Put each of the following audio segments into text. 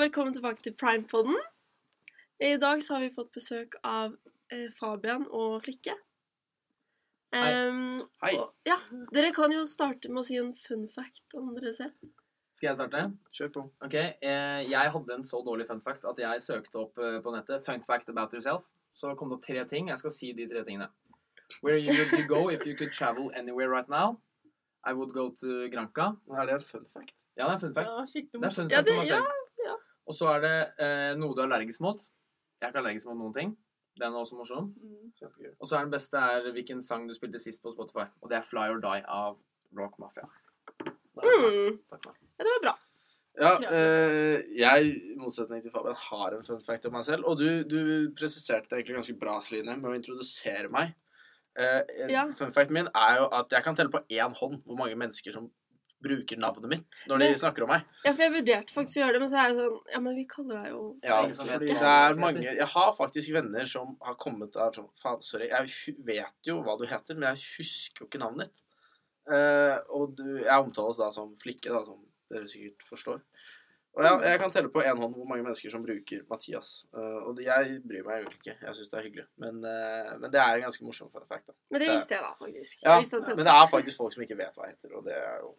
velkommen tilbake til Primepodden. I dag så har vi fått besøk av eh, Fabian og Flikke. Hei. Em, Hei. Og, ja, dere kan jo starte med å si en fun fact om dere selv. Skal jeg starte? Kjør på. Ok, eh, Jeg hadde en så dårlig fun fact at jeg søkte opp eh, på nettet 'fun fact about yourself'. Så kom det opp tre ting. Jeg skal si de tre tingene. Where you would you go if you could travel anywhere right now? I would go to Granca. Er det en fun fact? Ja, det er en fun fact. Ja, skikkelig Det er fun morsomt. Ja, fact det- om meg ja, selv. ja. Og så er det eh, noe du er allergisk mot. Jeg er ikke allergisk mot noen ting. Den er også morsom. Mm. Kjempegøy. Og så er den beste er hvilken sang du spilte sist på Spotify. Og det er 'Fly or Die' av Rock Mafia. Nice. Mm. Takk, da. Ja, det var bra. Ja, eh, jeg, i motsetning til Fabian, har en fun fact om meg selv. Og du, du presiserte det egentlig ganske bra, Celine, med å introdusere meg. Eh, en Ja. Fun facten min er jo at jeg kan telle på én hånd hvor mange mennesker som bruker navnet mitt når de Men- snakker om meg. Ja, for jeg vurderte faktisk å gjøre det, men så er det sånn Ja, men vi kaller deg jo Ja, Ingen som vet fordi hva det han er heter. mange Jeg har faktisk venner som har kommet der sånn Faen, sorry, jeg hu- vet jo hva du heter, men jeg husker jo ikke navnet ditt. Eh, og du, jeg omtales da som flikke, da, som dere sikkert forstår. Og ja, jeg kan telle på én hånd hvor mange mennesker som bruker Mathias. Eh, og det- jeg bryr meg egentlig ikke. Jeg syns det er hyggelig. Men, eh, men det er en ganske morsom fun fact, da. Men det visste jeg da, faktisk. Ja, jeg visste at, men det er faktisk folk som ikke vet hva jeg heter, og det er jo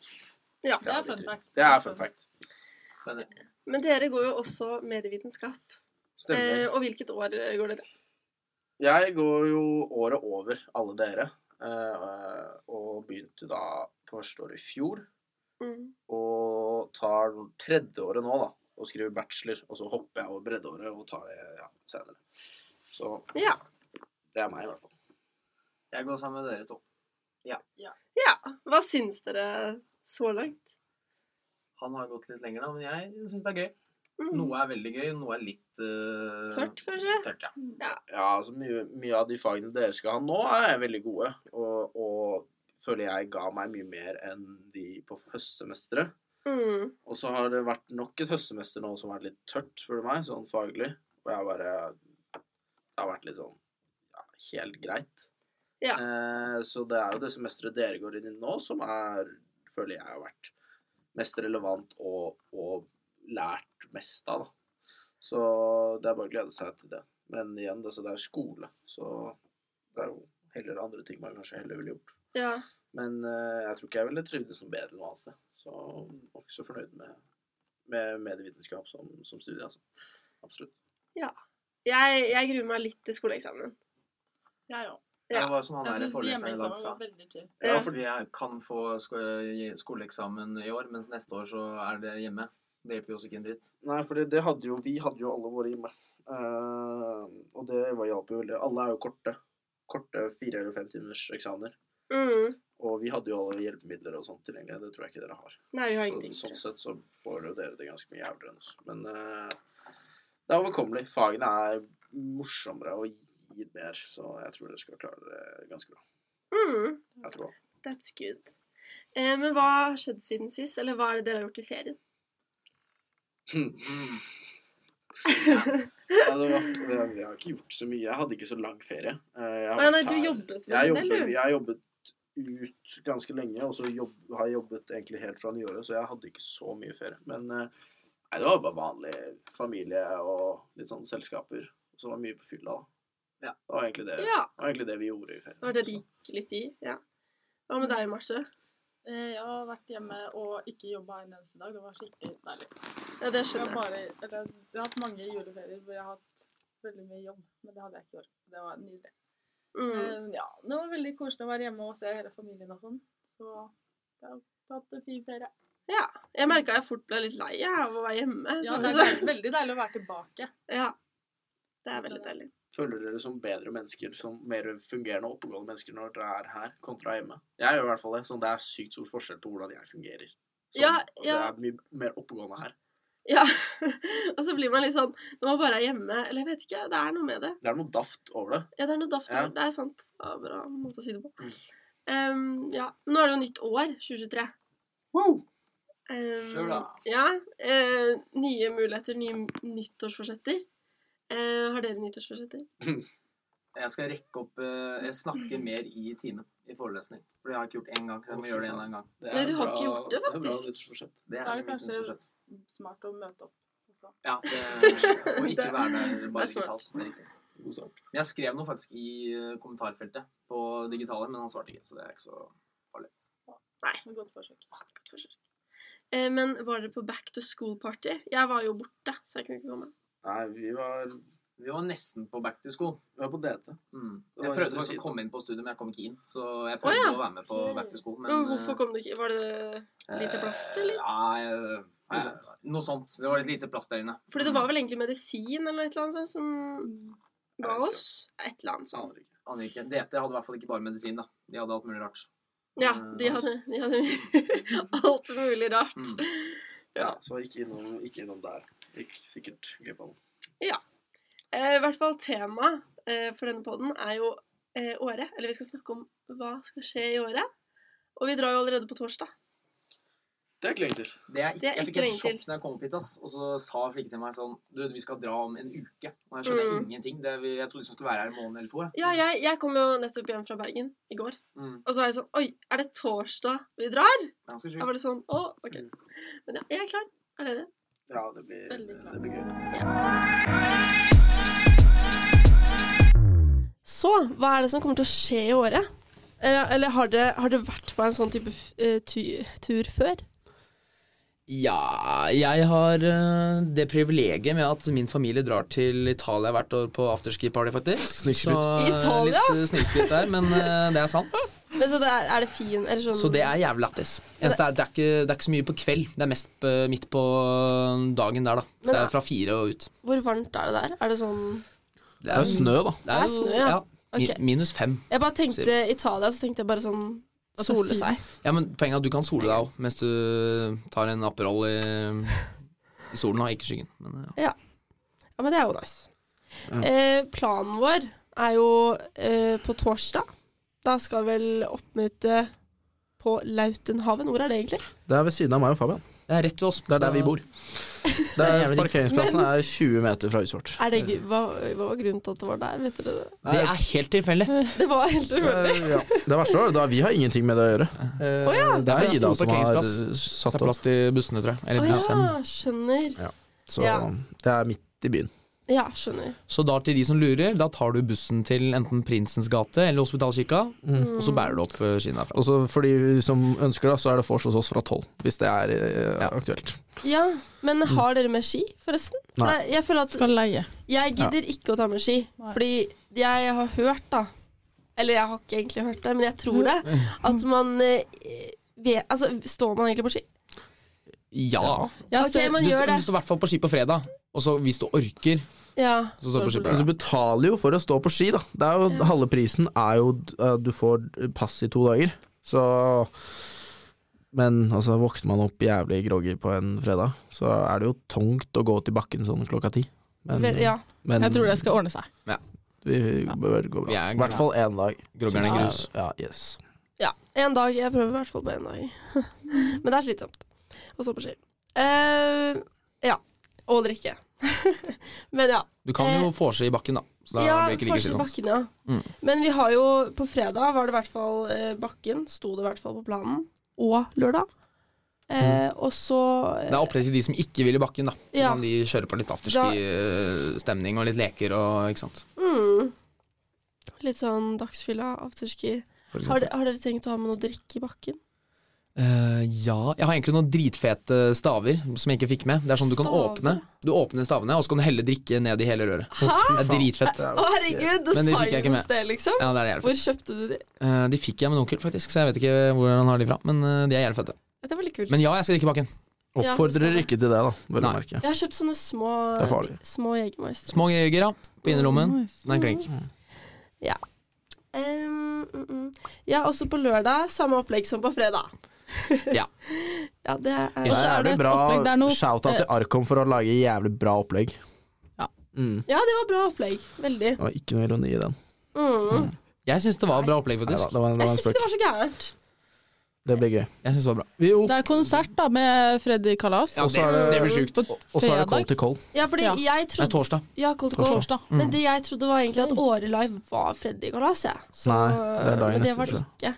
ja. Det er litt fun trist. fact. Det er fun fact. Men men dere går jo også medievitenskap. Eh, Stemmer. og hvilket år eh, går dere? Jeg går jo året over alle dere, eh, og begynte da på første året i fjor. Mm. Og tar tredjeåret nå, da, og skriver bachelor. Og så hopper jeg over breddeåret og tar det ja, senere. Så Ja. det er meg, i hvert fall. jeg går sammen med dere to. ja. Hva syns dere så langt? Han har gått litt lenger, da, men jeg syns det er gøy. Mm. Noe er veldig gøy, noe er litt eh, Tørt, kanskje? Tørt, ja. Ja, altså mye, mye av de fagene dere skal ha nå, er veldig gode. Og, og føler jeg ga meg mye mer enn de på høstsemesteret. Mm. Og så har det vært nok et høstsemester nå som har vært litt tørt, spør du meg, sånn faglig. Og jeg bare Det har vært litt sånn ja, helt greit. Ja. Eh, så det er jo det semesteret dere går inn i nå, som er, føler jeg har vært mest relevant og, og lært mest av, da. Så det er bare å glede seg til det. Men igjen, altså, det, så det er skole, så det er jo heller andre ting man kanskje heller ville gjort. Ja. Men eh, jeg tror ikke jeg ville trivdes noe bedre noe annet sted. Så jeg var ikke så fornøyd med, med medievitenskap som, som studie, altså. Absolutt. Jeg, jeg gruer meg litt til skoleeksamen. Jeg òg. Det var som han Jeg der syns foreleseren i dag hjemmeeksamen sa. var veldig chill. Ja, Ja. fordi jeg kan få sko i- skoleeksamen i år, mens neste år så er det hjemme. Det hjelper jo oss ikke en dritt. Nei, for det hadde jo Vi hadde jo alle våre hjemme. Eh, og det var- hjalp jo veldig. Alle er jo korte. Korte fire- eller femtimers eksamener. Mm. Og vi hadde jo alle hjelpemidler og sånt tilgjengelig. Det tror jeg ikke dere har. Nei, vi har Så, ingenting. sånn sett så får jo dere det ganske mye jævligere enn oss. Men eh, det er overkommelig. Fagene er morsommere og gir mer, så jeg tror dere skal klare det ganske bra. Mm. Jeg tror. That's good. Eh, men hva har skjedd siden sist, eller hva er det dere har gjort i ferien? Mm. Ja, det var, jeg, jeg har ikke gjort så mye. Jeg hadde ikke så lang ferie. Eh, Jeg har Nei, nei, vært du her- jobbet jeg vel en jobbet, del, du? jeg har jobbet ut ganske lenge, og så jobb, har jeg jobbet egentlig helt fra nyåret, så jeg hadde ikke så mye ferie. Men eh, nei, det var bare vanlig familie og litt sånn selskaper. Så var det mye på fylla. da. Ja. Det var egentlig det, Ja. det, var egentlig det vi gjorde i ferien. Det var det det Så- gikk litt i. Ja. Hva med deg, Marte? Eh, Jeg har vært hjemme og ikke jobba en eneste dag. Det var skikkelig deilig. Ja, det Jeg har, skjønner jeg. bare, eller, jeg har hatt mange juleferier hvor jeg har hatt veldig mye jobb, men det hadde jeg ikke i år. Det var nydelig. Mm. Eh, Ja, det var veldig koselig å være hjemme og se hele familien og sånn. Så jeg har hatt en fin ferie. Ja. Jeg merka jeg fort ble litt lei jeg, av å være hjemme. Ja, så- det er deil- veldig deilig å være tilbake. ja. Det er veldig deilig. Føler dere som bedre mennesker, som mer fungerende og oppegående mennesker når dere er her, kontra hjemme? Jeg gjør i hvert fall det. Sånn, det er sykt stor forskjell på hvordan jeg fungerer. Sånn, Ja, ja. Det er mye mer oppegående her. Ja. og så blir man litt sånn Når man bare er hjemme Eller jeg vet ikke, det er noe med det. Det er noe daft over det. Ja, det er noe daft over. Ja. Det er sant. Det var en bra måte å si det på. Ehm, ja. Nå er det jo nytt år, 2023. Ehm, Sure, da. ja. eh, nye muligheter, nye nyttårsforsetter. Eh, har dere nyttårsforsetter? Jeg skal rekke opp eh, Jeg snakker mer i timen i forelesning. For det har jeg ikke gjort én gang. så Jeg må gjøre det en eller annen gang. Det Nei, er du har bra- ikke gjort det, er bra faktisk. nyttårsforsett. Det Da er er det mitt kanskje- nyttårsforsett. Smart å møte opp. også. Ja, det, og ikke være der Det er bare smart. digitalt. Det er riktig. God start. Men jeg skrev noe faktisk i eh, kommentarfeltet på digitale, men han svarte ikke. Så det er ikke så Men godt forsøk. Godt forsøk. Eh, Men var dere på back to school-party? Jeg var jo borte, så jeg kunne ikke komme. Nei, vi var, vi Vi var nesten på back to school. var på DT. Mm. Det Jeg var prøvde litt faktisk å å si. komme inn på studiet, men jeg kom ikke inn. Så jeg Å, prøvde ja. Mm. å være med på Ok. back to school, men Men eh, hvorfor kom du ikke? Var det eh, lite plass, eller? Ja, jeg- jeg- noe sånt. Det var litt lite plass der inne. Fordi det var vel egentlig medisin eller et eller annet sånt som ga Jeg vet ikke. oss et eller annet sånt. Aner ikke. Mm. Aner ikke. DT hadde i hvert fall ikke bare medisin, da. De hadde alt mulig rart. Ja, Eh, de hadde, de hadde alt mulig rart. Mm. Ja. Så ikke innom, ikke innom der. Gikk sikkert gøy på den. Eh, I hvert fall temaet eh, for denne podden er jo eh, året. Eller vi skal snakke om hva skal skje i året. Og vi drar jo allerede på torsdag. Det er ikke lenge til. Det er ikke, Det er jeg ikke fikk et lenge sjokk når jeg kom opp hit, ass. Og så sa Flikke til meg sånn Du, vi skal dra om en uke. Og jeg skjønte Mm. ingenting. Det, vi- jeg trodde vi skulle være her en måned eller to. jeg. Ja, jeg, jeg kom jo nettopp hjem fra Bergen i går. Mm. Og så var jeg sånn Oi, er det torsdag vi drar? Det er Ganske Jeg sjukt. var litt sånn Å, ok. Men ja, jeg er klar. Er dere? Ja, det blir, Veldig bra. det blir gøy. Så, hva er det som kommer til å skje i året? Eller, eller har dere har dere vært på en sånn type f- eh, tu- tur før? Ja, jeg har eh, det privilegiet med at min familie drar til Italia hvert år på afterski-party, faktisk. Snikskryt. Så, eh, Italia? Litt eh, snikskryt der, men eh, det er sant. Men så det er, er det fin eller sånn Så det er jævlig lættis. Eneste er, det, er ikke, det er ikke så mye på kveld, det er mest eh, midt på eh, dagen der, da. Så det er fra fire og ut. Hvor varmt er det der? Er det sånn Det Det er snø, da. Det er, Det er jo- snø, ja. mi- Ok. Minus fem. Jeg bare tenkte Italia, så tenkte jeg bare sånn At det er Sole fint. seg. Ja, men poenget er at du kan sole deg òg, mens du tar en Aperol i, i solen, da. Ikke i skyggen. Men, eh, ja. Ja, men det er jo nice. Ja. Eh, planen vår er jo eh, på torsdag. Da skal vel oppmøte på Lautenhaven. Hvor er det egentlig? Det er ved siden av meg og Fabian. Det er rett ved oss. Det er der vi bor. Det er er, jævlig digg. parkeringsplassen er 20 meter fra huset vårt. Er det, gu- hva, hva var grunnen til at det var der? Vet dere det? Det er helt tilfeldig. Det var helt tilfeldig. Eh, ja. Det verste var da vi har ingenting med det å gjøre. Eh, Det Det er er en stor Ida som har parkeringsplass. Så det er satt opp, plass til bussene, tror jeg. Å Eller bussen. ja, skjønner. så Ja. det er midt i byen. Ja, skjønner. Så da til de som lurer, da tar du bussen til enten Prinsens gate eller Hospitalkirka, og så bærer du opp eh, skiene derfra. Og så for de som ønsker det, så er det vors hos oss fra tolv, hvis det er eh, Ja. aktuelt. Ja, men har dere med ski, forresten? For Mm. Nei. jeg- Jeg føler at Skal leie. Jeg gidder ikke å ta med ski, Nei. fordi jeg har hørt, da Eller jeg har ikke egentlig hørt det, men jeg tror det. At man eh, vet, Altså, står man egentlig på ski? Ja! Ja, Ok, så- men Du, gjør st- det. du står i hvert fall på ski på fredag, og så hvis du orker, Ja. så står du på ski på Men du fredag. betaler jo for å stå på ski, da. Det er jo, Ja. Halve prisen er jo at du får pass i to dager, så Men altså, våkner man opp jævlig groggy på en fredag, så er det jo tungt å gå til bakken sånn klokka ti. Men, Vel, eh, ja. men Jeg tror det skal ordne seg. vi bør gå bra. Vi er I hvert fall én dag. Groggerne Ja, grus. Ja, yes. ja. En dag. Jeg prøver i hvert fall på en dag. men det er slitsomt å stå på ski. Eh, ja. Og drikke. men ja. Eh, Du kan jo vorse i bakken, da. Så da ja, blir det ikke like forskjell slitsomt. bakken, ja. Mm. Men vi har jo På fredag var det i hvert fall eh, bakken. Sto det i hvert fall på planen. Og lørdag. Eh, Mm. Og så Det er opplegg til de som ikke vil i bakken, da. Så Ja. kan de kjøre på litt afterski-stemning og litt leker og ikke sant. Mm. Litt sånn dagsfylla, afterski. For eksempel. Har, de- har dere tenkt å ha med noe drikke i bakken? Eh, ja Jeg har egentlig noen dritfete staver som jeg ikke fikk med. Det er sånn du kan Staver? åpne Du åpner stavene, og så kan du helle drikke ned i hele røret. Det er dritfett. Å herregud, Men det fikk jeg ikke med. science det, liksom. Ja, det er jævlig fett. Hvor kjøpte du de? Eh, de fikk jeg av min onkel, faktisk, så jeg vet ikke hvor han har de fra. Men eh, de er jævlig fette. Det er veldig kult. Men ja, jeg skal drikke bakken. Ja, Oppfordrer skal det. ikke til det, da, vel å Nei. merke. Jeg har kjøpt sånne små, Det er farlig. små Jegermeister. Små gøyger, ja. På innerlommen. Nice. Den er klink. Em, mm, mm. Ja, også på lørdag. Samme opplegg som på fredag. Ja. ja, det er Ja, Der så er er det det et bra opplegg. Det er noe- shout-out til Arkom for å lage jævlig bra opplegg. Ja. Mm. Ja, det var bra opplegg. Veldig. Det var ikke noe ironi i den. Mm. Jeg syns det var bra opplegg, Neida, faktisk. det var en, det Jeg var en syns ikke spøk. det var så gærent. Det blir gøy. Jeg synes det var bra. Jo, Det er konsert da med Freddy Kalas. Ja, Og så det, er det- det blir sjukt. og så er det fredag. Cold to Cold. Ja, fordi Ja. jeg Det er trodde torsdag. Ja, Cold Call. Torsdag. Mm. Men det jeg trodde var egentlig at Åre Live var Freddy Kalas, jeg. Så, Mm. øh, Nei, det er dagen men det etter, var det tror ikke.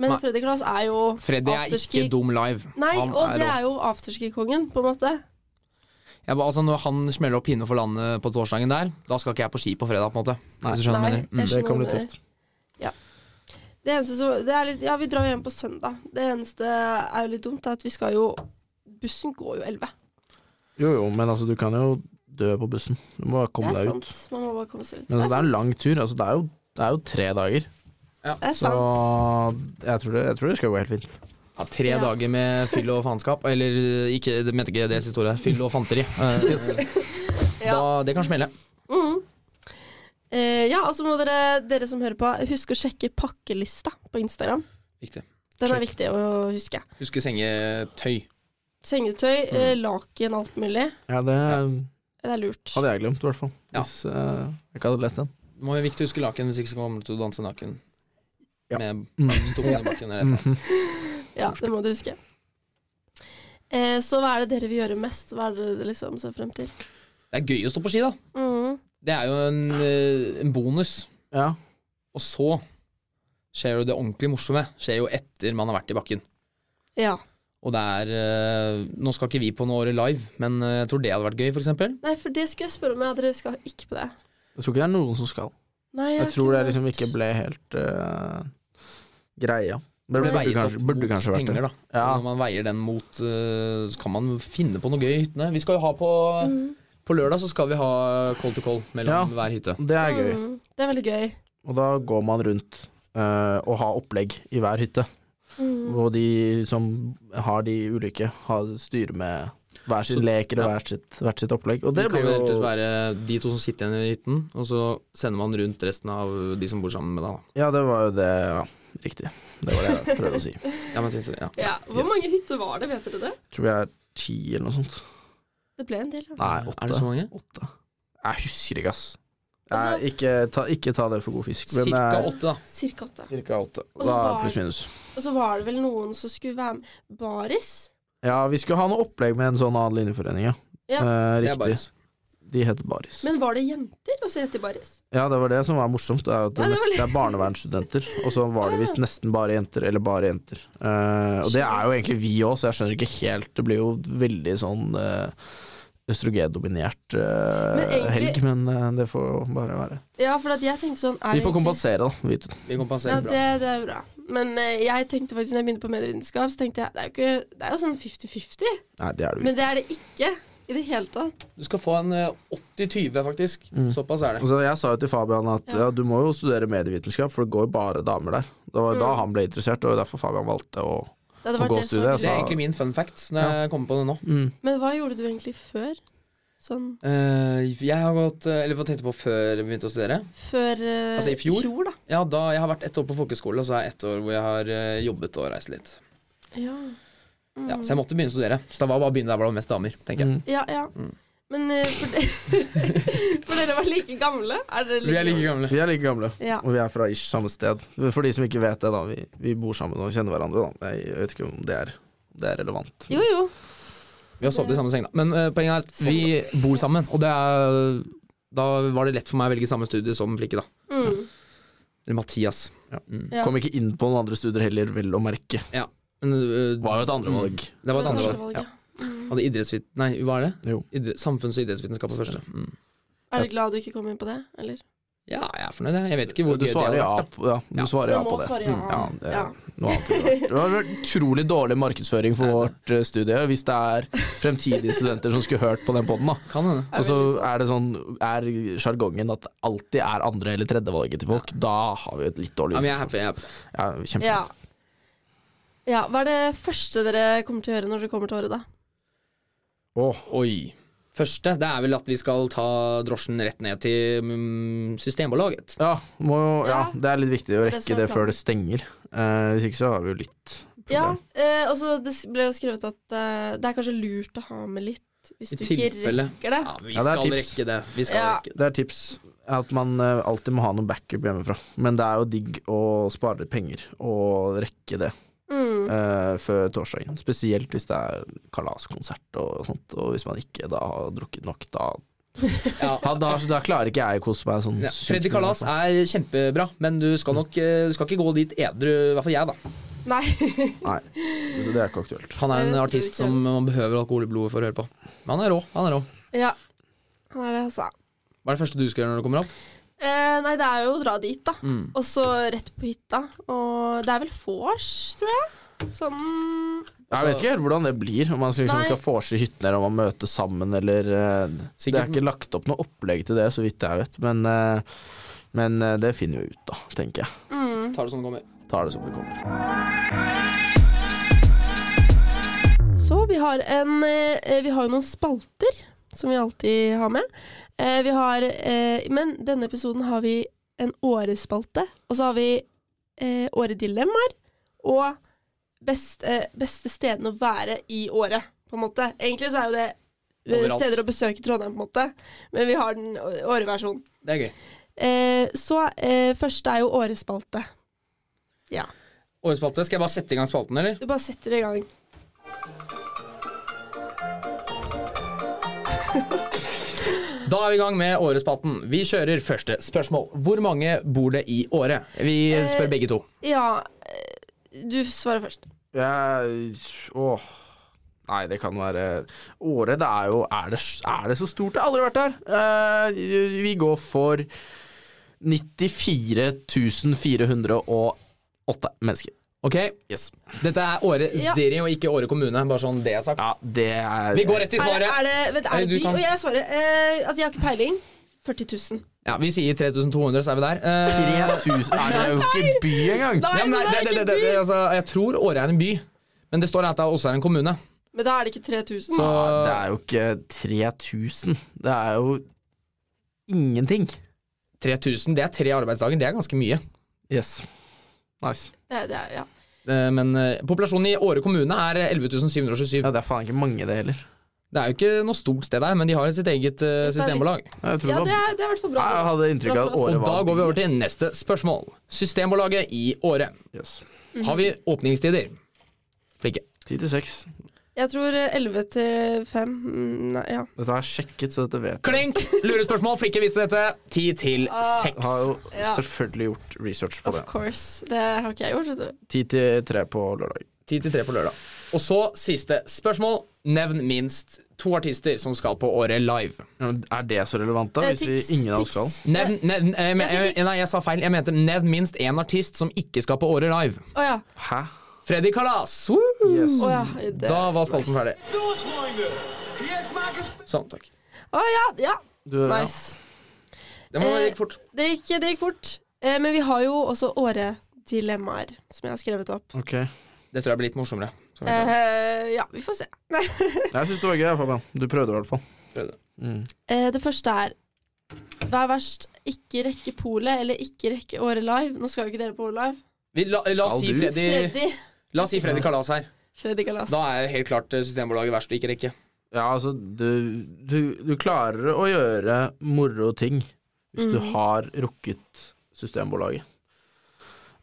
Men Nei. Freddy Kalas er jo Freddy er afterski- ikke dum live. Nei, Han og det rå. er jo afterski-kongen, på en måte. Jeg, ba- altså, når han smeller opp pinne for landet på torsdagen der, da skal ikke jeg på ski på fredag, på en måte. Nei. Hvis du skjønner hva jeg Nei. mener. Mm. Jeg Mm. Det kan skjønner bli det. tøft. Det eneste som det er litt, Ja, vi drar jo hjem på søndag. Det eneste er jo litt dumt, er at vi skal jo Bussen går jo 11. Jo jo, men altså, du kan jo dø på bussen. Du må bare komme det er deg sant. ut. Man må bare komme seg ut. Men altså, det er sant. en lang tur. Altså, det, er jo, det er jo tre dager, Det er så sant. jeg tror, det, jeg tror det skal gå helt fint. Ja, tre Ja. dager med fyll og faenskap. Eller eh, ikke, det mente ikke det siste ordet. her. Fyll og fanteri. Eh, da, det kan smelle. Mhm. Eh, ja, og så må dere, dere som hører på, huske å sjekke pakkelista på Instagram. Viktig. Den er Sjekk. viktig å huske. Huske sengetøy. Mm. Sengetøy, eh, laken, alt mulig. Ja, det Det er lurt. hadde jeg glemt, i hvert fall. Ja. Hvis eh, jeg ikke hadde lest den. Det må være viktig å huske laken, hvis ikke så kommer du til å danse naken. Ja. Med Mm. stolen i bakken eller et eller annet. Ja, det må du huske. Eh, så hva er det dere vil gjøre mest? Hva er det dere liksom ser frem til? Det er gøy å stå på ski, da. Mhm. Det er jo en, eh, en bonus. Ja. Og så skjer jo det ordentlig morsomme skjer jo etter man har vært i bakken. Ja. Og det er eh, Nå skal ikke vi på noe året live, men eh, jeg tror det hadde vært gøy, for eksempel. Nei, for det skulle jeg spørre om. Ja, dere skal ikke på det. Jeg tror ikke det er noen som skal. Nei, Jeg har tror det hørt. liksom ikke ble helt eh, greia. Det Det burde, veiet kanskje, opp burde mot kanskje vært det. penger, da. Ja. Og Når man veier den mot eh, Så kan man finne på noe gøy i hyttene. Vi skal jo ha på Mm. Mm. På lørdag så skal vi ha call to call mellom hver hytte. Det er gøy. Mhm. Det er veldig gøy. Og da går man rundt eh, og har opplegg i hver hytte. Mhm. Og de som har de ulike, har, styrer med hver sin Så- lek eller ja. hvert, sitt, hvert sitt opplegg. Og det kan jo blir rett og slett jo være de to som sitter igjen i hytten, og så sender man rundt resten av de som bor sammen med deg. Ja, det var jo det. Ja, riktig. Det var det jeg prøvde å si. da. Ja, men, titt- ja. Ja. Hvor Yes. mange hytter var det, vet dere det? Tror vi er ti eller noe sånt. Det ble en del, ja. Nei, Er det sånn? åtte. så mange? åtte. Jeg husker ikke, ass. Altså- Nei, ikke, ta, ikke ta det for god fisk. Men eh, det Cirka er åtte, da. Cirka åtte. cirka åtte. Og så Da var- pluss minus. Og så var det vel noen som skulle være med Baris? Ja, vi skulle ha noe opplegg med en sånn annen linjeforening, ja. Ja, Eh, Det er riktig. bare- De heter Baris. Men var det jenter også heter Baris? Ja, det var det som var morsomt. Det er, at det Ja, det var mest, det er barnevernsstudenter, og så var det visst nesten bare jenter, eller bare jenter. Eh, og det er jo egentlig vi òg, så jeg skjønner ikke helt Det blir jo veldig sånn uh, østrogendominert eh, Men egentlig- helg, men eh, det får jo bare være. Ja, for at jeg tenkte sånn er Vi det får egentlig- kompensere, da. Vi, Vi kompenserer Ja, bra. det, det er bra. Men eh, jeg tenkte faktisk når jeg begynte på medievitenskap, så tenkte jeg det er jo, ikke, det er jo sånn 50-50. nei, det er det jo ikke. Men det er det ikke i det hele tatt. Du skal få en eh, 80-20, faktisk. Mm. Såpass er det. Altså, jeg sa jo til Fabian at Ja. ja, du må jo studere medievitenskap, for det går jo bare damer der. Det var jo da Mm. han ble interessert, og derfor Fabian valgte å Det hadde vært Og det som gåstudiet, var Det gøy. er altså. egentlig min fun fact når jeg kommer på det nå. Men hva gjorde du egentlig før? Sånn Eh, jeg har gått eh, Eller hva tenkte jeg på før jeg begynte å studere? før eh, Altså, i fjor? fjor, da. Ja, da Jeg har vært ett år på folkeskole, og så er jeg ett år hvor jeg har eh, jobbet og reist litt. Ja. Mm. Ja, så jeg måtte begynne å studere. Så det var bare å begynne der hvor det var mest damer, tenker jeg. Mm. Ja, ja. Mm. Men eh, for, de, for dere var like gamle? Er dere like, Vi er like gamle. Vi er like gamle. Ja. Og vi er fra ish samme sted. For de som ikke vet det, da. Vi, vi bor sammen og kjenner hverandre, da. Jeg vet ikke om det er, det er relevant. Jo, jo. Vi har sovet i samme seng, da. Men eh, poenget er at vi bor sammen, og det er Da var det lett for meg å velge samme studie som Flikke, da. Mm. Eller Mathias. Ja. Mm. Ja. Kom ikke inn på noen andre studier heller, vel å merke. Men, eh, Det var jo et andrevalg. det var et Det andre var et valg. Ja. valg, ja. Mm. Hadde idrettsvit... Nei, hva er det? Jo. Idre- Samfunns- og idrettsvitenskap på første. Mm. Er du glad du ikke kom inn på det, eller? Ja, jeg er fornøyd. jeg. Jeg vet ikke hvor Du gøy det svarer hadde ja, vært. på- ja, du Ja. svarer Du ja må på det. svare ja. Mm, ja, det, Ja. Noe annet ville vært. det var vel utrolig dårlig markedsføring for Jeg vet vårt eh, studie hvis det er fremtidige studenter som skulle hørt på den poden. da. Kan hende. Er Og så veldig er det sånn, er sjargongen at det alltid er andre- eller tredjevalget til folk. Da har vi et litt dårlig Ja, men jeg er happy. Jeg er happy. Ja, kjempe- Ja. ja. Hva er det første dere kommer til å gjøre når dere kommer til året, da? Oi. Første det er vel at vi skal ta drosjen rett ned til mm, Systembolaget. Ja, må jo, ja, Ja. det er litt viktig å Det er det rekke som er det planen. før det stenger. Eh, hvis ikke så har vi jo litt Ja, problem. eh, og så det s- ble jo skrevet at eh, det er kanskje lurt å ha med litt hvis I du ikke tilfelle. rekker det. Ja, vi Ja, det er skal tips. rekke det. Vi skal Ja. rekke det. Det er tips at man eh, alltid må ha noe backup hjemmefra. Men det er jo digg å spare penger og rekke det Mm. eh, før torsdagen. Spesielt hvis det er kalaskonsert og sånt, og hvis man ikke da har drukket nok, da Ja. Da, da, da klarer ikke jeg å kose meg sånn. Ja. sykt Freddy mye, Kalas i hvert fall. er kjempebra, men du skal nok eh, du skal ikke gå dit edru, i hvert fall jeg, da. Nei. Så det er ikke aktuelt. Han er Jeg en vet artist ikke. som man behøver alkohol i blodet for å høre på. Men han er rå. han er rå Ja. Det er det jeg sa. Hva er det første du skal gjøre når du kommer opp? Eh, nei, det er jo å dra dit, da. Mm. Og så rett på hytta. Og det er vel vors, tror jeg. Sånn Jeg vet ikke helt hvordan det blir, om man skal liksom Nei. skal forse i hyttene eller om man møtes sammen eller eh, Det er Sikkert- ikke lagt opp noe opplegg til det, så vidt jeg vet, men, eh, men eh, det finner vi ut, da, tenker jeg. mm. Tar det som det kommer. Tar det som det kommer. Så vi har en eh, Vi har jo noen spalter som vi alltid har med. Eh, vi har eh, Men denne episoden har vi en årespalte. Og så har vi eh, åredilemmaer og best, eh, beste stedene å være i året, på en måte. Egentlig så er jo det eh, Overalt. steder å besøke i Trondheim, på en måte. Men vi har den å- åreversjonen. Det er gøy. Eh, så eh, første er jo åresspalte. Årets spalte. Skal jeg bare sette i gang spalten, eller? Du bare setter i gang. Da er vi i gang med Årets spalten. Vi kjører første spørsmål. Hvor mange bor det i året? Vi Eh. spør begge to. Ja, eh, du svarer først. Jeg- åh. Nei, det kan være Året, det er jo Er det, er det så stort? Jeg har aldri vært der. Eh, vi går for 94 408 mennesker. Ok, Yes. Dette er Åre Ja. serie og ikke Åre kommune. Bare sånn det er sagt. Ja, det er Vi går rett til Er, det- er svaret. det, vet, du, Er er det det du by? kan- Og jeg svarer eh, Altså, jeg har ikke peiling. 40 000. Ja, Vi sier 3200, så er vi der. Eh, 3000 Nei, det er jo ikke by engang! Nei, ja, men men nei, det er det, det, ikke det, det, by! altså, jeg tror Åre er en by, men det står at det også er en kommune. Men da er det ikke 3000. Så Ja, det er jo ikke 3000. Det er jo ingenting. 3000 det er tre arbeidsdager. Det er ganske mye. Yes. Nice. det, det er, ja. Eh, Men eh, populasjonen i Åre kommune er 11.727. Ja, det er faen ikke mange, det heller. Det er jo ikke noe stort sted der, men de har sitt eget eh, litt- systembolag. Jeg, tror ja, det det var, er, det er i hvert fall bra. jeg hadde inntrykk av at Og året da var går vi over til neste spørsmål. Systembolaget i Åre. Yes. Mhm. Har vi åpningstider? Flinke. 10 til 6. Jeg tror eh, 11 til 5. Mm, Nei, ja. Dette har jeg sjekket, så dette vet jeg. Klink! Lurespørsmål. Flinke visste dette. Ti til Ah. Jeg har seks. jo Ja. selvfølgelig gjort research på Of det. course. Det har ikke jeg gjort. vet du. 10 til 3 på lørdag. Ti til tre på lørdag. Og så siste spørsmål. Nevn minst to artister som skal på Året live. Ja, men Er det så relevant, da? Eh, Hvis vi, Tix, ingen av oss Tix. skal? Nevn, nevn eh, men- Jeg sier Tix. eh, Nei, jeg sa feil. Jeg mente nevn minst én artist som ikke skal på Året live. Å ja. Hæ? Freddy Kalas! Woo! Yes. Å ja. Mm. Det. Da var spalten ferdig. Sånn, takk. Å ja, ja. Du, ja. Nice. Det må- det gikk fort. Det gikk, det gikk fort. Eh, men vi har jo også åredilemmaer, som jeg har skrevet opp. Ok. Det tror jeg blir litt morsommere. Sånn Så vi kan Eh, ja, vi får se. Jeg syns det var gøy, Fabian. Du prøvde i hvert fall. prøve det. Mm. Eh, det første er Hva er verst? Ikke rekke polet eller ikke rekke Året Live? Nå skal jo ikke dere på Året Live. Vi, la, la, oss Skal si du? Freddy, Freddy. la oss si Freddy Kalas her. Freddy Kalas. Eh, Da er helt klart eh, Systembolaget verst å ikke rekke. Ja, altså, du, du, du klarer å gjøre moro ting hvis du Mm. Mhm. har rukket Systembolaget.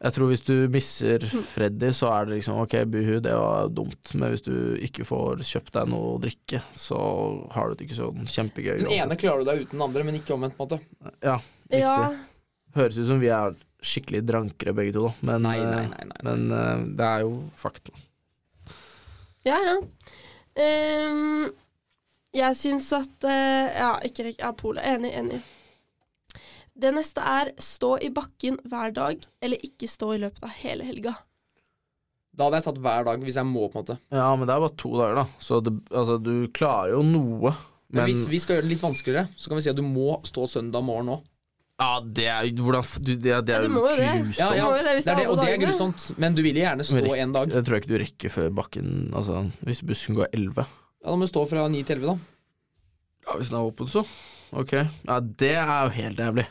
Jeg tror hvis du misser Mm. Freddy, så er det liksom ok, buhu, det var dumt, men hvis du ikke får kjøpt deg noe å drikke, så har du det ikke sånn kjempegøy. Den ene klarer du deg uten den andre, men ikke omvendt. på en måte riktig. ja. Høres ut som vi er skikkelig drankere begge to, da, men, Nei, nei, nei, nei. men eh, det er jo fakta. ja, ja. Ehm, jeg syns at eh, Ja, ikke rekke ja, polet. Enig, enig. Det neste er stå i bakken hver dag, eller ikke stå i løpet av hele helga. Da hadde jeg tatt hver dag hvis jeg må. på en måte Ja, men det er bare to dager, da, så det, altså, du klarer jo noe. Men, hvis vi skal gjøre det litt vanskeligere, så kan vi si at du må stå søndag morgen òg. Ja, det er, hvordan, f- du, det, er- det Ja, er du jo må jo det. grusomt. Ja, ja, må jo det hvis Sånn. det det er det, er alle og det er dagene. grusomt, men du vil gjerne stå Men riktig. en dag. Jeg tror ikke du rekker før bakken Altså, hvis bussen går 11. Ja, Da må du stå fra 9 til 11, da. Ja, hvis den er åpen, så. Ok. Ja, det er jo helt jævlig.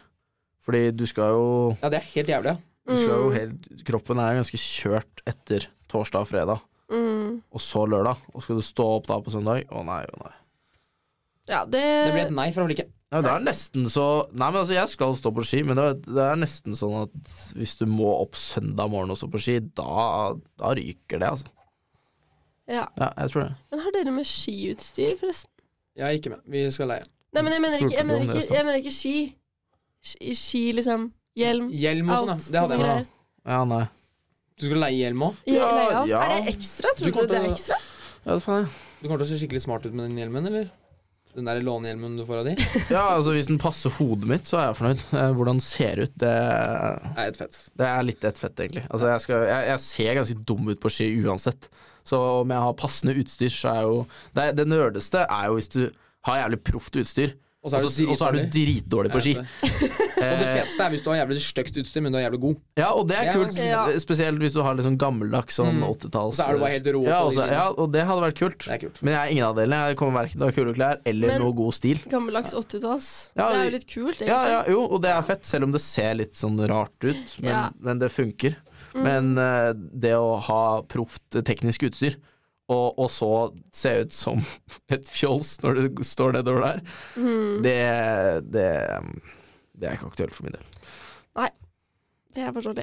Fordi du skal jo, Ja, Det er helt jævlig. ja. du skal jo Mm. helt Kroppen er ganske kjørt etter torsdag og fredag, Mm. og så lørdag. Og skal du stå opp da på søndag? Å nei, å nei. Ja, det, Det blir et nei fra Ulrikke. Nei, det er nesten så Nei, men altså, jeg skal stå på ski, men det er, det er nesten sånn at hvis du må opp søndag morgen og stå på ski, da, da ryker det, altså. ja. Ja, jeg tror det. Men har dere med skiutstyr, forresten? Jeg er ikke med. Vi skal leie. Nei, men jeg mener ikke, jeg Spurte du om mener det i ikke, stad? jeg mener ikke ski. ski. Ski, liksom. Hjelm. Hjelm og sånn, ja. Alt Det hadde jeg. sånne jeg. Ja, nei. Du skal leie hjelm òg? Ja, Ja, leie alt. ja. Er det ekstra? Du Tror du, det kommer til er å- ekstra? Ja, det faen jeg. Du kommer til å se skikkelig smart ut med den hjelmen, eller? Den der lånehjelmen du får av de, Ja, altså Hvis den passer hodet mitt, så er jeg fornøyd. Eh, Hvordan den ser ut, det, er et fett. det er litt ett fett, egentlig. Altså jeg, skal, jeg, jeg ser ganske dum ut på ski uansett. Så om jeg har passende utstyr, så er jo Det, det nerdeste er jo hvis du har jævlig proft utstyr, Og og så Altså, og så er du dritdårlig på ski. Jeg Og det feteste er hvis du har jævlig stygt utstyr, men du er jævlig god. Ja, og det er Det er kult. ganske- Spesielt hvis du har litt sånn gammeldags sånn Mm. 80-talls Så er du bare helt rå på liksom. ja, de også, sidene. ja, og det hadde vært kult. Det er kult. Men jeg er ingen av delene. Jeg kommer verken til å ha kule klær eller Men- noe god stil. Gammeldags 80-talls. Ja, det er vi- jo litt kult, egentlig. Ja, ja, jo, og det er fett, selv om det ser litt sånn rart ut, men, Ja. Mm. men det funker. Men eh, det å ha proft teknisk utstyr, og, og så se ut som et fjols når du står nedover der, Mm. det, det, det er ikke aktuelt for min del. Det er forståelig.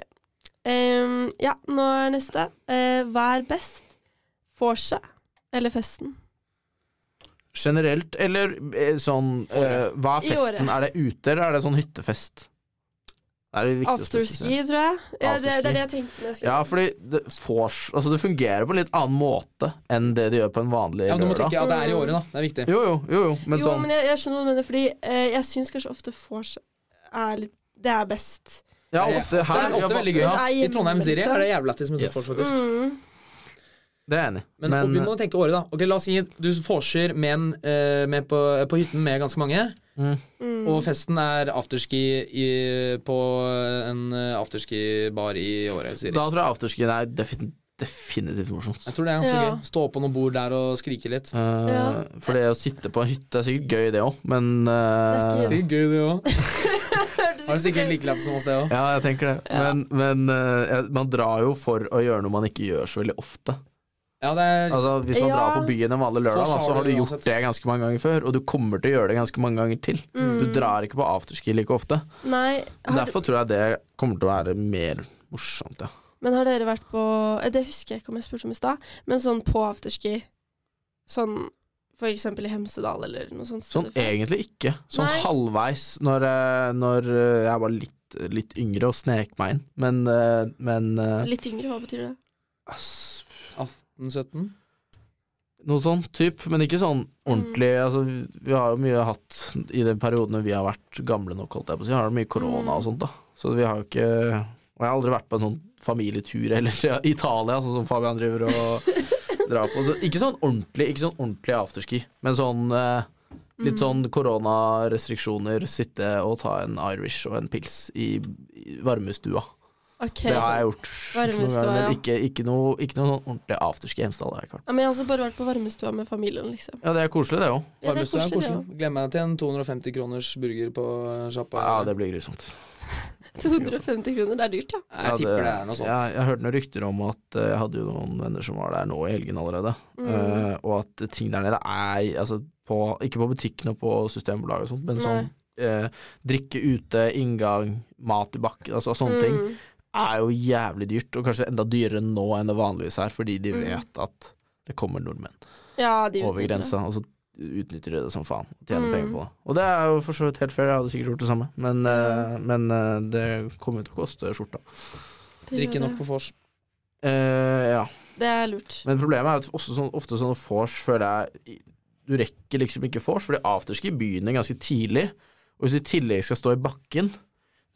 Ehm, ja, nå er neste. Eh, vær best. Vorset eller festen? Generelt, eller eh, sånn eh, Hva er I året. festen? Er det ute, eller er det sånn hyttefest? Det er det viktigste. å Afterski, spesifisere. liksom. tror jeg. Ja, det, Afterski. det er det jeg tenkte. Når jeg skrev. Ja, fordi det, fors, altså det fungerer på en litt annen måte enn det det gjør på en vanlig Ja, men du må lørdag. tenke at det er i året, da. Det er viktig. Jo, jo, jo, jo, men jo, sånn men jeg, jeg skjønner hva du mener, fordi eh, jeg syns kanskje ofte vorset er litt Det er best. Ja, Det er ofte Det her er ofte ja, veldig gøy. Det er I Trondheim Siri hjemme, er det jævlig lættis med Yes. yes. faktisk. Mm. Det er jeg enig i. eh, Men, og vi må tenke året, da. Ok, La oss si du forser menn eh, med på, på hytten med ganske mange, Mm. Mm. og festen er afterski i, på en eh, afterski-bar i året, sier de. da tror jeg afterskien er defin, definitivt morsomst. Jeg tror det er ganske Ja. gøy. Stå på noen bord der og skrike litt. Eh, Ja. For det å sitte på en hytte er sikkert gøy, det òg, men eh, Det er ikke- Sikkert gøy, det òg. Hørtes Har det ikke så sikkert gøy like lættis som oss, det òg. Ja, jeg tenker det. Men, men eh, jeg- man drar jo for å gjøre noe man ikke gjør så veldig ofte. Ja, det er Altså, hvis man Ja. drar på byen en vanlig lørdag, Først da, har så har du du gjort uansett. det ganske mange ganger før, og du kommer til å gjøre det ganske mange ganger til. Du Mm. drar ikke på afterski like ofte. Nei, har, Derfor tror jeg det kommer til å være mer morsomt, ja. men har dere vært på eh, Det husker jeg ikke om jeg spurte om i stad, men sånn på afterski Sånn for eksempel i Hemsedal eller noe sånt. sted. Sånn egentlig ikke. Sånn Nei. halvveis, når, eh, når eh, jeg var litt, litt yngre og snek meg inn. Men, eh, men eh, Litt yngre, hva betyr det? ass, 18-17. Noe sånn type, men ikke sånn ordentlig. Mm. Altså, vi har jo mye hatt i den perioden vi har vært gamle nok, holdt jeg på å si. Har det mye korona Mm. og sånt, da. Så vi har jo ikke Og jeg har aldri vært på en sånn familietur heller til Italia, sånn som Fabian driver og drar på. Så ikke sånn ordentlig, ikke sånn ordentlig afterski, men sånn eh, Litt Mm. sånn koronarestriksjoner, sitte og ta en Irish og en pils i, i varmestua. Ok, Det har jeg gjort. noen Varmestua, ganger, ja. Men ikke, ikke, noe, ikke noe sånn ordentlig afterski i Hemsedal. har jeg ikke vært. Ja, men jeg har også bare vært på varmestua med familien, liksom. Ja, det er koselig, det òg. Ja, det er Varmestua koselig, er det koselig. Gleder meg til en 250 kroners burger på sjappa. Ja, det blir grusomt. også. 250 kroner, det er dyrt, ja. Jeg tipper det er noe sånt. Jeg, jeg hørte noen rykter om at eh, jeg hadde jo noen venner som var der nå i helgen allerede, Mm. Mm. eh, og at ting der nede er altså, på, Ikke på butikken og på Systembolaget og sånt, men sånn eh, drikke ute, inngang, mat i bakken, altså sånne Mm. ting, Mm. er jo jævlig dyrt, og kanskje enda dyrere nå enn det vanligvis er, fordi de Mm. vet at det kommer nordmenn Ja, de over utnytter det. grensa, og så utnytter de det som faen, og tjener Mm. penger på det. Og det er jo for så vidt helt fair, jeg hadde sikkert gjort det samme, men, eh, Mm. men eh, det kommer jo til å koste skjorta. Det gjør Drikke nok det. på vors. Eh, ja. Det er lurt. Men problemet er at også sånn, ofte sånne vors føler jeg Du rekker liksom ikke vors, fordi afterski begynner ganske tidlig. Og hvis du i tillegg skal stå i bakken,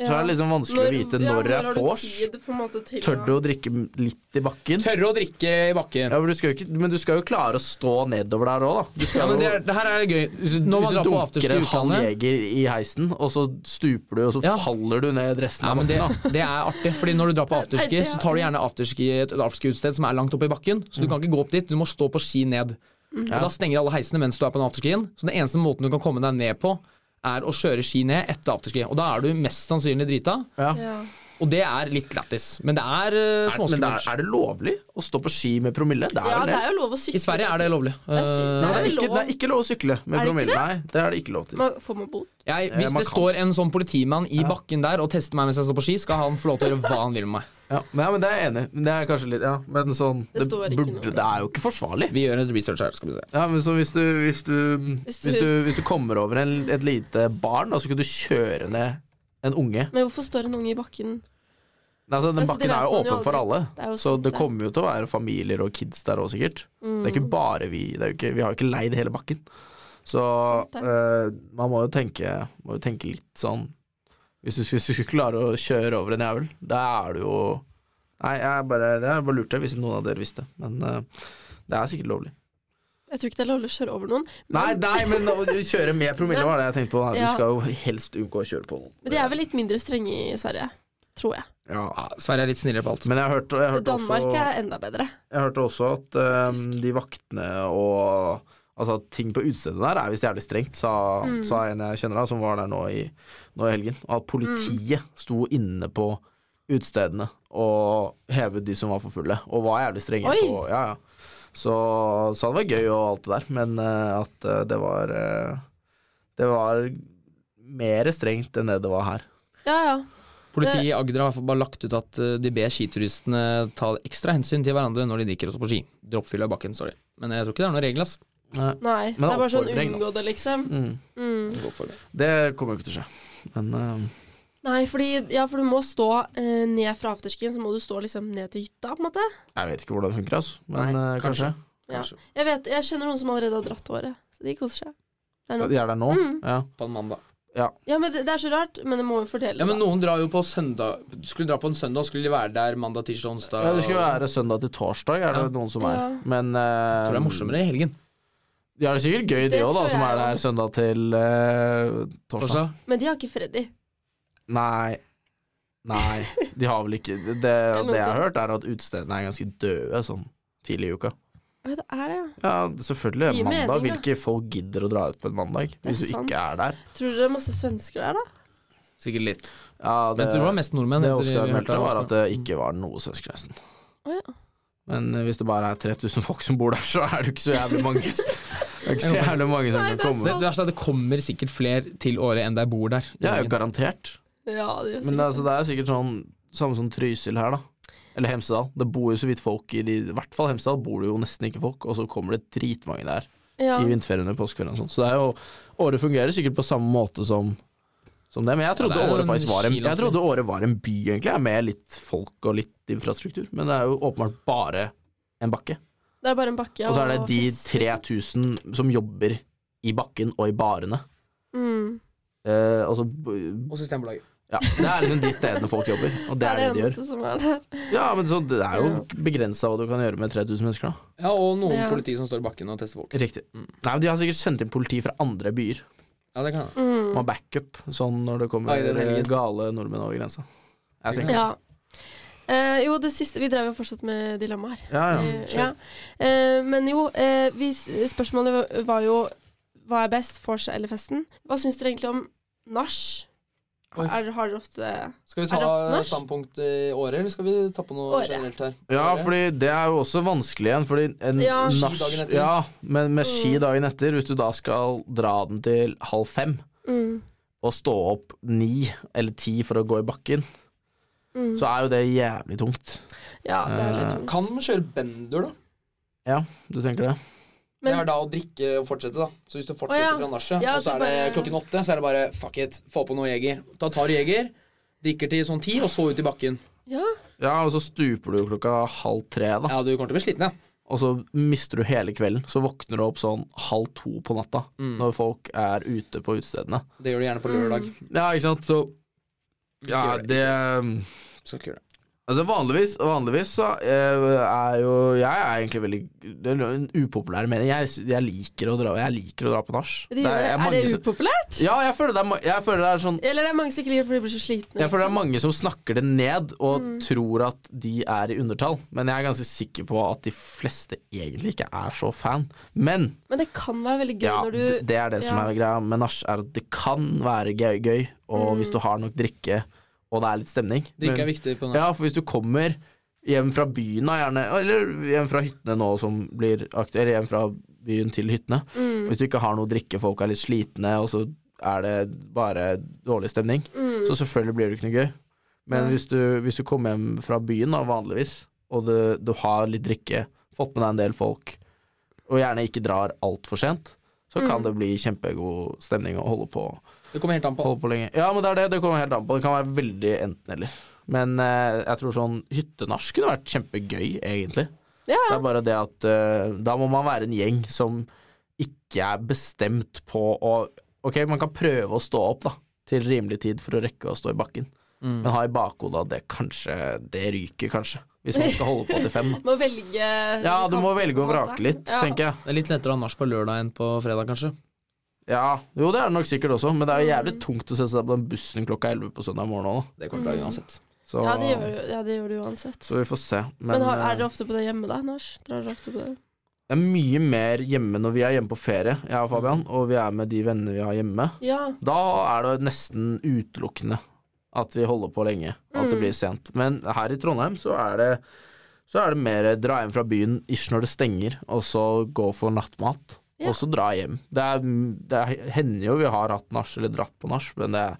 så er det liksom vanskelig å vite når det er vors. Tør du å drikke litt i bakken? Tørre å drikke i bakken. Ja, men, du skal jo ikke, men du skal jo klare å stå nedover der òg, da. Du skal Ja, men det, er, jo det her er gøy. hvis Når du, man hvis drar du på dunker afterski i en halv utlandet jeger i heisen, og så stuper du, og så Ja. faller du ned resten ja, av men det, bakken. da. det er artig, Fordi når du drar på afterski, Nei, det er- så tar du gjerne afterski et et afterski-utsted som er langt oppe i bakken. Så du kan ikke gå opp dit, du må stå på ski ned. Og Da stenger alle heisene mens du er på den afterskien. Så den eneste måten du kan komme deg ned på, er å kjøre ski ned etter afterski. Og da er du mest sannsynlig drita, Ja. og det er litt lættis. Men det er eh, Er, men det er, småskummelt. er det lovlig å stå på ski med promille? Det er ja, vel det det? er jo lov å sykle. I Sverige er det lovlig. er sykt, Eh, Nei, det er vel ikke, lov. det er ikke lov å sykle Er med det ikke promille. Nei, det er det ikke lov til. Man får man bot? jeg, Eh, hvis man det kan. står en sånn politimann i bakken der og tester meg mens jeg står på ski, skal han få lov til å gjøre hva han vil med meg. Ja, men, ja, men det er jeg enig i. Men Det er kanskje litt Ja, men sånn Det står ikke noe. det er jo ikke forsvarlig. Vi gjør en research her, skal vi se. Ja, men så hvis du Hvis du, hvis du- du, hvis du kommer over en, et lite barn, da, så kan du kjøre ned en unge. Men hvorfor står en unge i bakken? Nei, altså, den Altså, det bakken vet er jo man jo åpen for alle, aldri. Det er jo så sant, det det. Mm. kommer jo til å være familier og kids der òg, sikkert. Det er ikke bare vi. Det er jo ikke, vi har jo ikke leid hele bakken. Så Sant det. eh, man må jo, tenke, må jo tenke litt sånn Hvis du skulle, hvis du skulle klare å kjøre over en jævel, da er du jo Nei, jeg bare, jeg bare lurte hvis noen av dere visste. Men eh, det er sikkert lovlig. Jeg tror ikke det er lovlig å kjøre over noen. Nei, nei, men å kjøre med promille var det jeg tenkte på. Nei, Ja. Du skal jo helst unngå å kjøre på noen. Men de er vel litt mindre strenge i Sverige, tror jeg. Ja. Ja, Sverige er litt snillere på alt. Men jeg hørte, jeg hørte Danmark også er enda bedre. Jeg hørte også at eh, de vaktene og Altså at ting på utestedet der er visst jævlig strengt, sa, Mm. sa en jeg kjenner av, som var der nå i, nå i helgen. Og at politiet Mm. sto inne på utestedene og hevet de som var for fulle, og var jævlig strenge. Oi! På, ja, ja. Så sa det var gøy og alt det der, men eh, at eh, det var eh, Det var mer strengt enn det det var her. Ja, ja. Politiet i Agder har bare lagt ut at eh, de ber skituristene ta ekstra hensyn til hverandre når de drikker også på ski. Droppfyll av bakken, sorry. Men jeg tror ikke det er noen regel, ass. Nei. Nei. Men det er bare sånn oppfordring, da. unngå det, liksom. Mm. Mm. Det kommer jo ikke til å skje. Men eh, Nei, fordi, ja, for du må stå eh, ned fra afterskien, så må du stå liksom ned til hytta, på en måte. jeg vet ikke hvordan det funker, altså. Men Nei, eh, kanskje. kanskje. Ja. Kanskje. Jeg vet, jeg kjenner noen som allerede har dratt året, så de koser seg. Det er Ja, noe. De er der nå? Mm. Ja. På en mandag. Ja, men det, det er så rart, men det må jo fortelle. Ja, men da. noen drar jo på søndag. Skulle dra på en søndag, skulle de være der mandag, tirsdag, onsdag. ja, det skal og jo sånn. være søndag til torsdag, er det Ja. noen som er. Ja. Men eh, Jeg tror det er morsommere i helgen. Ja, det er sikkert gøy de Det òg, da, tror som jeg er der også. søndag til eh, torsdag. Torsdag. Men de har ikke Freddy. Nei. Nei, de har vel ikke Det, det noe jeg har til. hørt, er at utestedene er ganske døde sånn tidlig i uka. Ja, det er det, ja. Ja, selvfølgelig. Gir mening, mandag. da. Hvilke folk gidder å dra ut på en mandag er hvis du sant. ikke er der? Tror dere det er masse svensker der, da? Sikkert litt. Ja, Men jeg tror det var mest nordmenn. det etter vi Oskar hørte meldte, av var Oskar. at det ikke var noe svensker, nesten. Å ja. Men eh, hvis det bare er 3000 folk som bor der, så er det jo ikke så jævlig mange. Det er ikke så jævlig mange som kan Det, komme. det, verste er sånn at det kommer sikkert flere til året enn der bor der. Ja, ja, garantert. Ja, det gjør Men sikkert altså, det er sikkert sånn samme som Trysil her, da. Eller Hemsedal. Det bor jo så vidt folk i de I hvert fall Hemsedal bor det jo nesten ikke folk, og så kommer det dritmange der ja. i vinterferien og påskeferien og sånn. Så det er jo Året fungerer sikkert på samme måte som som det, men jeg trodde, Ja, det er jo året en faktisk var en, jeg skilandsby. trodde året var en by, egentlig, jeg, med litt folk og litt infrastruktur. Men det er jo åpenbart bare en bakke. Det er bare en bakke. Og så er det de fest, liksom. 3000 som jobber i bakken og i barene. Mm. Eh, altså, b- Og Systembolaget. ja, det er liksom de stedene folk jobber, og det er det de gjør. eneste som er der. Ja, men så, Det er jo begrensa hva du kan gjøre med 3000 mennesker, da. Ja, og noen Ja. politi som står i bakken og tester folk. Riktig. Nei, men De har sikkert sendt inn politi fra andre byer. Ja, det kan jeg. Mm. De har backup sånn når det kommer Nei, det er eh, helgen. gale nordmenn over grensa. Jeg tenker. Ja. Eh, jo, det siste Vi drev jo fortsatt med dilemmaer. Ja, ja. Eh, ja. Eh, men jo, eh, vi, spørsmålet var jo hva er best, vors eller festen? Hva syns dere egentlig om nach? Oi. Er- Har dere ofte Skal vi Er det ofte ta nach? standpunkt eh, i året, eller skal vi ta på noe Året. generelt her? ja, Året? fordi det er jo også vanskelig igjen, fordi en Ja. Ski nach dagen etter. Ja, men med ski dagen etter, hvis du da skal dra den til halv fem, mm, å stå opp ni eller ti for å gå i bakken, mm. så er jo det jævlig tungt. Ja, det er litt eh, tungt. Kan man kjøre bender, da? Du tenker det? Men- det er da å drikke og fortsette, da. Så hvis du fortsetter Å, ja. fra nachet, Ja, og så så er det bare- klokken åtte, så er det bare fuck it, få på noe jeger. Da tar du jeger, drikker til sånn ti, og så ut i bakken. Ja, Ja, og så stuper du jo klokka halv tre, da. Ja, du kommer til å bli sliten, ja. og så mister du hele kvelden. Så våkner du opp sånn halv to på natta, Mm. når folk er ute på utestedene. Det gjør du gjerne på Mm. lørdag. Ja, ikke sant, så Ja, gjør det. det um, Skal ikke gjøre det. Altså vanligvis, vanligvis så eh, er jo Jeg er egentlig veldig Det er en upopulær mening. Jeg, jeg liker å dra Jeg liker å dra på nach. de gjør det. jeg Er det mange som- upopulært? Ja, jeg føler det er, ma- jeg føler det er sånn Eller det er mange som ikke liker det fordi de blir så slitne? Jeg føler det liksom? Mm. er mange som snakker det ned og tror at de er i undertall, men jeg er ganske sikker på at de fleste egentlig ikke er så fan. Men Men det kan være veldig gøy Ja, når d- du det er det som ja. er greia med nach, er at det kan være gøy, gøy og Mm. hvis du har nok drikke, og det er litt stemning Drikke men- er viktig på nach. Ja, for hvis du kommer hjem fra byen, da, gjerne, eller hjem fra hyttene nå som blir aktuelle, eller hjem fra byen til hyttene, hvis du ikke har noe å drikke, folk er litt slitne, og så er det bare dårlig stemning, så selvfølgelig blir det ikke noe gøy. Men hvis du, hvis du kommer hjem fra byen da, vanligvis, og du, du har litt drikke, fått med deg en del folk, og gjerne ikke drar altfor sent, så kan det bli kjempegod stemning å holde på Det kommer helt an på. Holde på lenge. Ja, men det er det. Det kommer helt an på. Det kan være veldig enten-eller. Men eh, jeg tror sånn hyttenach kunne vært kjempegøy, egentlig. Ja, Det er bare det at eh, da må man være en gjeng som ikke er bestemt på å Ok, man kan prøve å stå opp da til rimelig tid for å rekke å stå i bakken, men ha i bakhodet at det kanskje Det ryker kanskje, hvis man skal holde på til fem. da. Må velge Ja, du må velge å vrake litt, Ja. tenker jeg. Det er litt lettere å ha nach på lørdag enn på fredag, kanskje. Ja, Jo, det er det nok sikkert også, men det er jo jævlig tungt å sette seg på den bussen klokka 11 på søndag morgen òg, da. Det kommer til å være uansett. Så, Mm. Ja, det gjør, du- ja, det gjør du uansett. så vi får se. Men har, eh, er dere ofte på det hjemme, da, Nach? Drar dere ofte på det? Det er mye mer hjemme når vi er hjemme på ferie, jeg og Fabian, og vi er med de vennene vi har hjemme. Ja. Da er det nesten utelukkende at vi holder på lenge, at det Mm. blir sent. Men her i Trondheim så er det så er det mer dra hjem fra byen ish når det stenger, og så gå for nattmat. Ja. Og så dra hjem. Det, er, det er- hender jo vi har hatt nach eller dratt på nach, men det er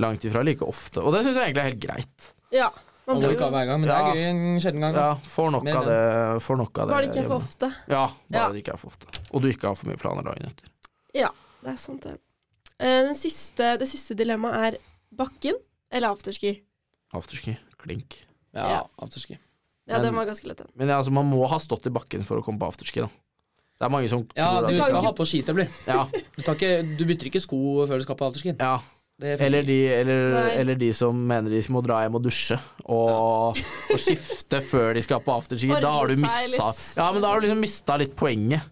langt ifra like ofte. Og det syns jeg egentlig er helt greit. ja. Man Man blir må ikke jo ha hver gang, men det Ja. er gøy en sjelden gang. Ja, får nok Mer av det. Får nok av det Var det Mm. ikke for hjemme. ofte? Ja, bare Ja. det ikke er for ofte. Og du ikke har for mye planer dagen etter. Det er sant, det. Eh, Den siste, det siste dilemmaet er bakken eller afterski. Afterski. Klink. Ja, Ja. afterski. Ja, Men- den var ganske lett, den. Men ja, altså, man må ha stått i bakken for å komme på afterski, da. Det er mange som Ja, tror du at skal ha på skistøvler. ja, Du, tar ikke, du bytter ikke sko før du skal på afterski. ja. Det Eller, de, eller, Nei. eller de som mener de må dra hjem og dusje og, og skifte før de skal på afterski. Da har du Ordne seg missa litt. Ja, men da har du liksom mista litt poenget.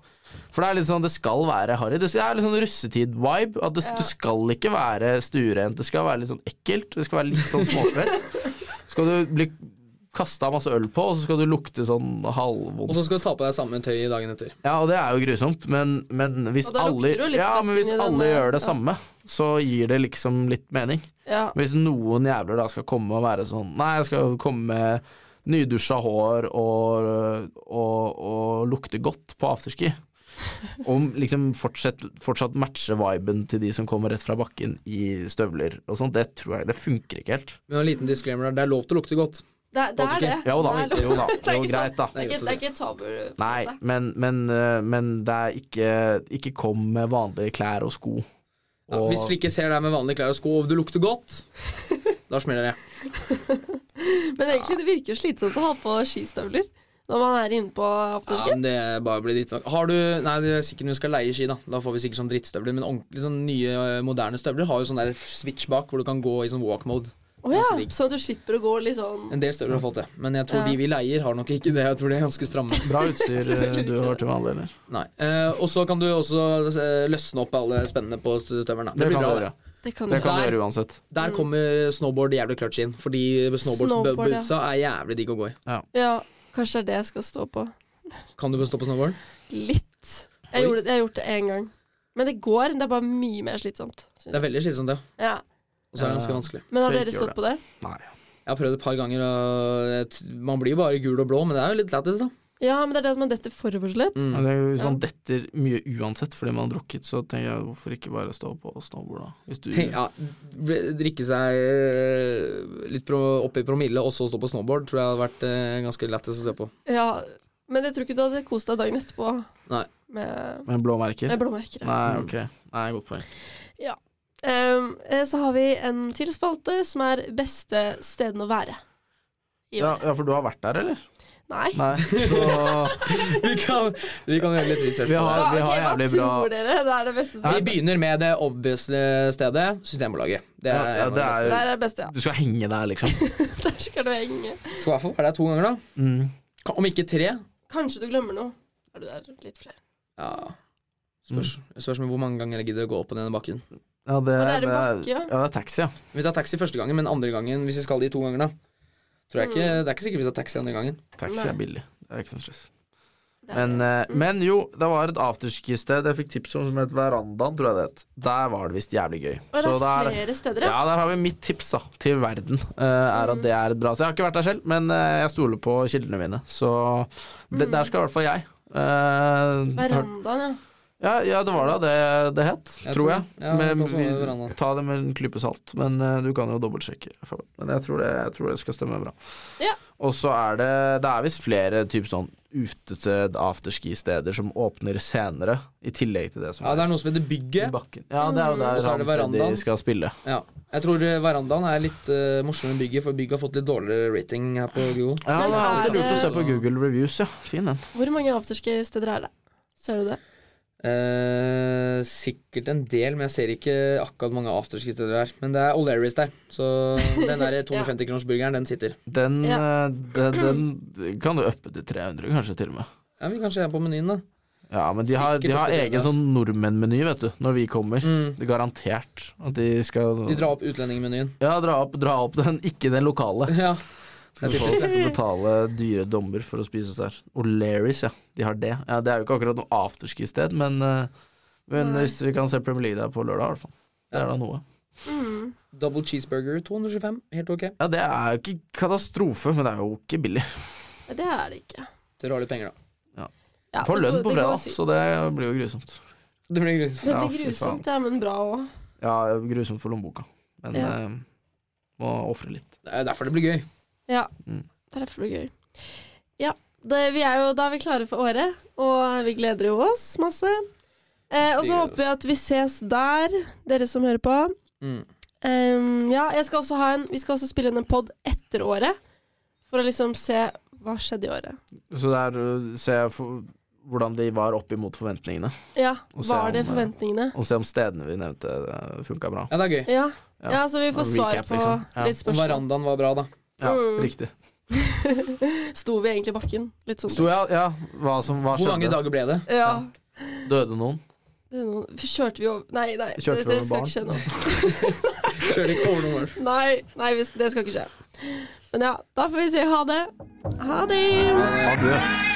For det er litt sånn, det skal være harry. Det er litt sånn russetid-vibe. At det, Ja. det skal ikke være stuerent. Det skal være litt sånn ekkelt. Det skal være litt sånn småsvett. skal du bli kasta masse øl på, og så skal du lukte sånn halvvondt. Og så skal du ta på deg samme tøy dagen etter. Ja, og det er jo grusomt, men, men hvis Og da lukter alle, det jo litt ja, svett men hvis inni den, alle ja. gjør det samme, så gir det liksom litt mening. Ja. Hvis noen jævler da skal komme og være sånn Nei, jeg skal komme med nydusja hår og, og, og lukte godt på afterski. Og liksom fortsett, fortsatt matche viben til de som kommer rett fra bakken i støvler og sånt. Det tror jeg Det funker ikke helt. Men en liten disclaimer der, det er lov til å lukte godt. Det, det er det. Jo da, Det er lov. jo da. Det er Jo, ikke sant. greit, da. Det er ikke, det er ikke tabu. på Nei, en måte. men, men, eh, men det er ikke Ikke kom med vanlige klær og sko. Ja, Og- hvis du ikke ser deg med vanlige klær og sko og du lukter godt, da smeller det. Men egentlig, det virker jo slitsomt å ha på skistøvler når man er inne på Ja, afterski. men det er bare blir drittsak. Har du Nei, det er sikkert når du skal leie ski, da. Da får vi sikkert sånn drittstøvler. Men ordentlig sånn nye, eh, moderne støvler har jo sånn der switch bak hvor du kan gå i sånn walk mode. Å ja, så du slipper å gå litt sånn En del støvler har fått det. Men jeg tror Ja. de vi leier, har nok ikke det. Jeg tror de er ganske stramme. Bra utstyr eh, du har til vanlig, eller? Nei. Eh, og så kan du også eh, løsne opp alle spennene på støvelen. da. Det blir kan bra. du det. gjøre. Mm. Det kan du. Det kan du Der. gjøre uansett. Der kommer snowboard jævlig clutch inn. Fordi Snowboard, ja. snowboardsbootsa er jævlig digg å gå i. Ja, kanskje det er det jeg skal stå på. Kan du stå på snowboard? Litt. Jeg, gjorde, det- jeg har gjort det én gang. Men det går. Det er bare mye mer slitsomt. synes Det er jeg. veldig slitsomt, det. Ja. Og så er det ganske Ja. vanskelig. Men har Skal jeg dere ikke stått gjøre på det? Nei. Jeg har prøvd et par ganger, og jeg t- man blir jo bare gul og blå, men det er jo litt lættis, da. Ja, men det er det at man detter forover så lett. Mm. Men det er jo Hvis Ja. man detter mye uansett fordi man har drukket, så tenker jeg hvorfor ikke bare stå på og snowboard, da? Hvis du Tenk, ja, bli- drikke seg eh, litt pro, opp i promille, og så stå på snowboard, tror jeg hadde vært eh, ganske lættis å se på. Ja, men jeg tror ikke du hadde kost deg dagen etterpå Nei. med, Med blå merker? med blåmerker. Nei, ok. Nei, godt poeng. Um, eh, så har vi en til spalte som er beste stedene å være. I Ja, året. ja, for du har vært der, eller? Nei. Nei. Så Vi kan, vi kan gjøre litt research vi på det. har, vi ok, har jævlig Hva bra tror dere det er det beste Vi stedet? begynner med det obvious stedet, Systembolaget. Det ja, er, ja, det er, Der er det beste, ja. Du skal henge der, liksom. Der skal du henge. Skal i hvert fall være der to ganger, da. Mm. Ka- Om ikke tre. Kanskje du glemmer noe. Er du der litt flere? Ja. Spørs, spørs med hvor mange ganger jeg gidder å gå opp på denne bakken. Ja, Og det, det er en det er, bakke, ja, ja. det er taxi, ja. Vi tar taxi første gangen, men andre gangen, hvis vi skal de to gangene, tror jeg ikke, det er ikke sikkert vi tar taxi andre gangen. Taxi Nei. er billig. Det er ikke noe stress. Det er Men, det. eh, men jo, det var et afterski-sted jeg fikk tips om som het Verandaen, tror jeg det het. Der var det visst jævlig gøy. Og det eh, Så er der, flere steder, ja. ja, der har vi mitt tips da, til verden, eh, er Mm. at det er et bra sted. Jeg har ikke vært der selv, men eh, jeg stoler på kildene mine. Så Mm. det, der skal i hvert fall jeg. eh, hørt- Verandaen, ja. ja, ja, det var da det det het, Jeg tror tror- jeg. ja, det Men var vi- verandaen. ta det med en klype salt, men eh, du kan jo dobbeltsjekke. for- Men jeg tror det, jeg tror det skal stemme bra. Ja. Og så er det Det er visst flere typ sånn utested, afterski-steder som åpner senere, i tillegg til det som Ja, er det er noe som heter i Bygget. bakken. Ja, det er Mm. jo der Og så er det Ram Freddy verandaen. skal spille. Ja. Jeg tror eh, verandaen er litt eh, morsommere enn Bygget, for Bygget har fått litt dårligere rating her på Google. Ja, Men det er alltid er lurt å det- se på Google reviews, ja. Fin den. Hvor mange afterski-steder er det? Ser du det? Eh, sikkert en del, men jeg ser ikke akkurat mange afterski-steder her. Men det er O'Learys der, så den der eh, 250-kronersburgeren, den sitter. Den, eh, den, den kan du uppe til 300, kanskje, til og med. Ja, Vi kan se på menyen, da. Ja, men de har, de Sikkert har oppe i egen tredje, sånn nordmenn-meny, vet du, når vi kommer. Mm. Det er garantert at de skal De drar opp utlendingmenyen. Ja, dra opp, dra opp den, ikke den lokale. Ja. Så Det er folk skal betale dyre dommer for å spise der. O'Learys, ja. De har det. Ja, det er jo ikke akkurat noe afterski-sted, men, eh, men Nei. hvis vi kan se Premier League der på lørdag, i hvert fall. Det er da noe. Mm. Double cheeseburger 225, helt ok. Ja, det er jo ikke katastrofe, men det er jo ikke billig. Det er det ikke. Dere har litt penger, da. Ja, Får det lønn går- på det går fredag, sy- så det blir jo grusomt. Det blir grusomt. Det Ja, blir fy faen. grusomt, ja, men bra òg. Ja, grusomt for lommeboka, men Ja. eh, må ofre litt. Det er derfor det blir gøy. Ja. Mm. Det er derfor det blir gøy. Ja. Det, vi er jo, da er vi klare for året, og vi gleder jo oss masse. Eh, og Vi så gleder håper vi at vi ses der, dere som hører på. Mm. Ehm, ja, jeg skal også ha en, vi skal også spille inn en pod etter året, for å liksom se hva skjedde i året. Så der eh, ser jeg for, hvordan de var opp imot forventningene, Ja, Og se Var det om, eh, forventningene? og se om stedene vi nevnte eh, funka bra. Ja, det er gøy. Ja. Ja. Ja. så vi får Og svar recap, på liksom. Ja. litt Og spørsmål. verandaen var bra, da. Ja, Mm. riktig. Sto vi egentlig i bakken? Litt sånn. Sto jeg, ja, hva som hva Hvor mange skjedde? dager ble det? Ja. Døde noen? Det er noen, kjørte vi over Nei, nei, Kjørte det, vi det over skal barn? ikke skje nå. Kjører ikke over noen mål. Nei, nei, hvis- det skal ikke skje. Men ja, da får vi si ha det. Ha det! Adjø.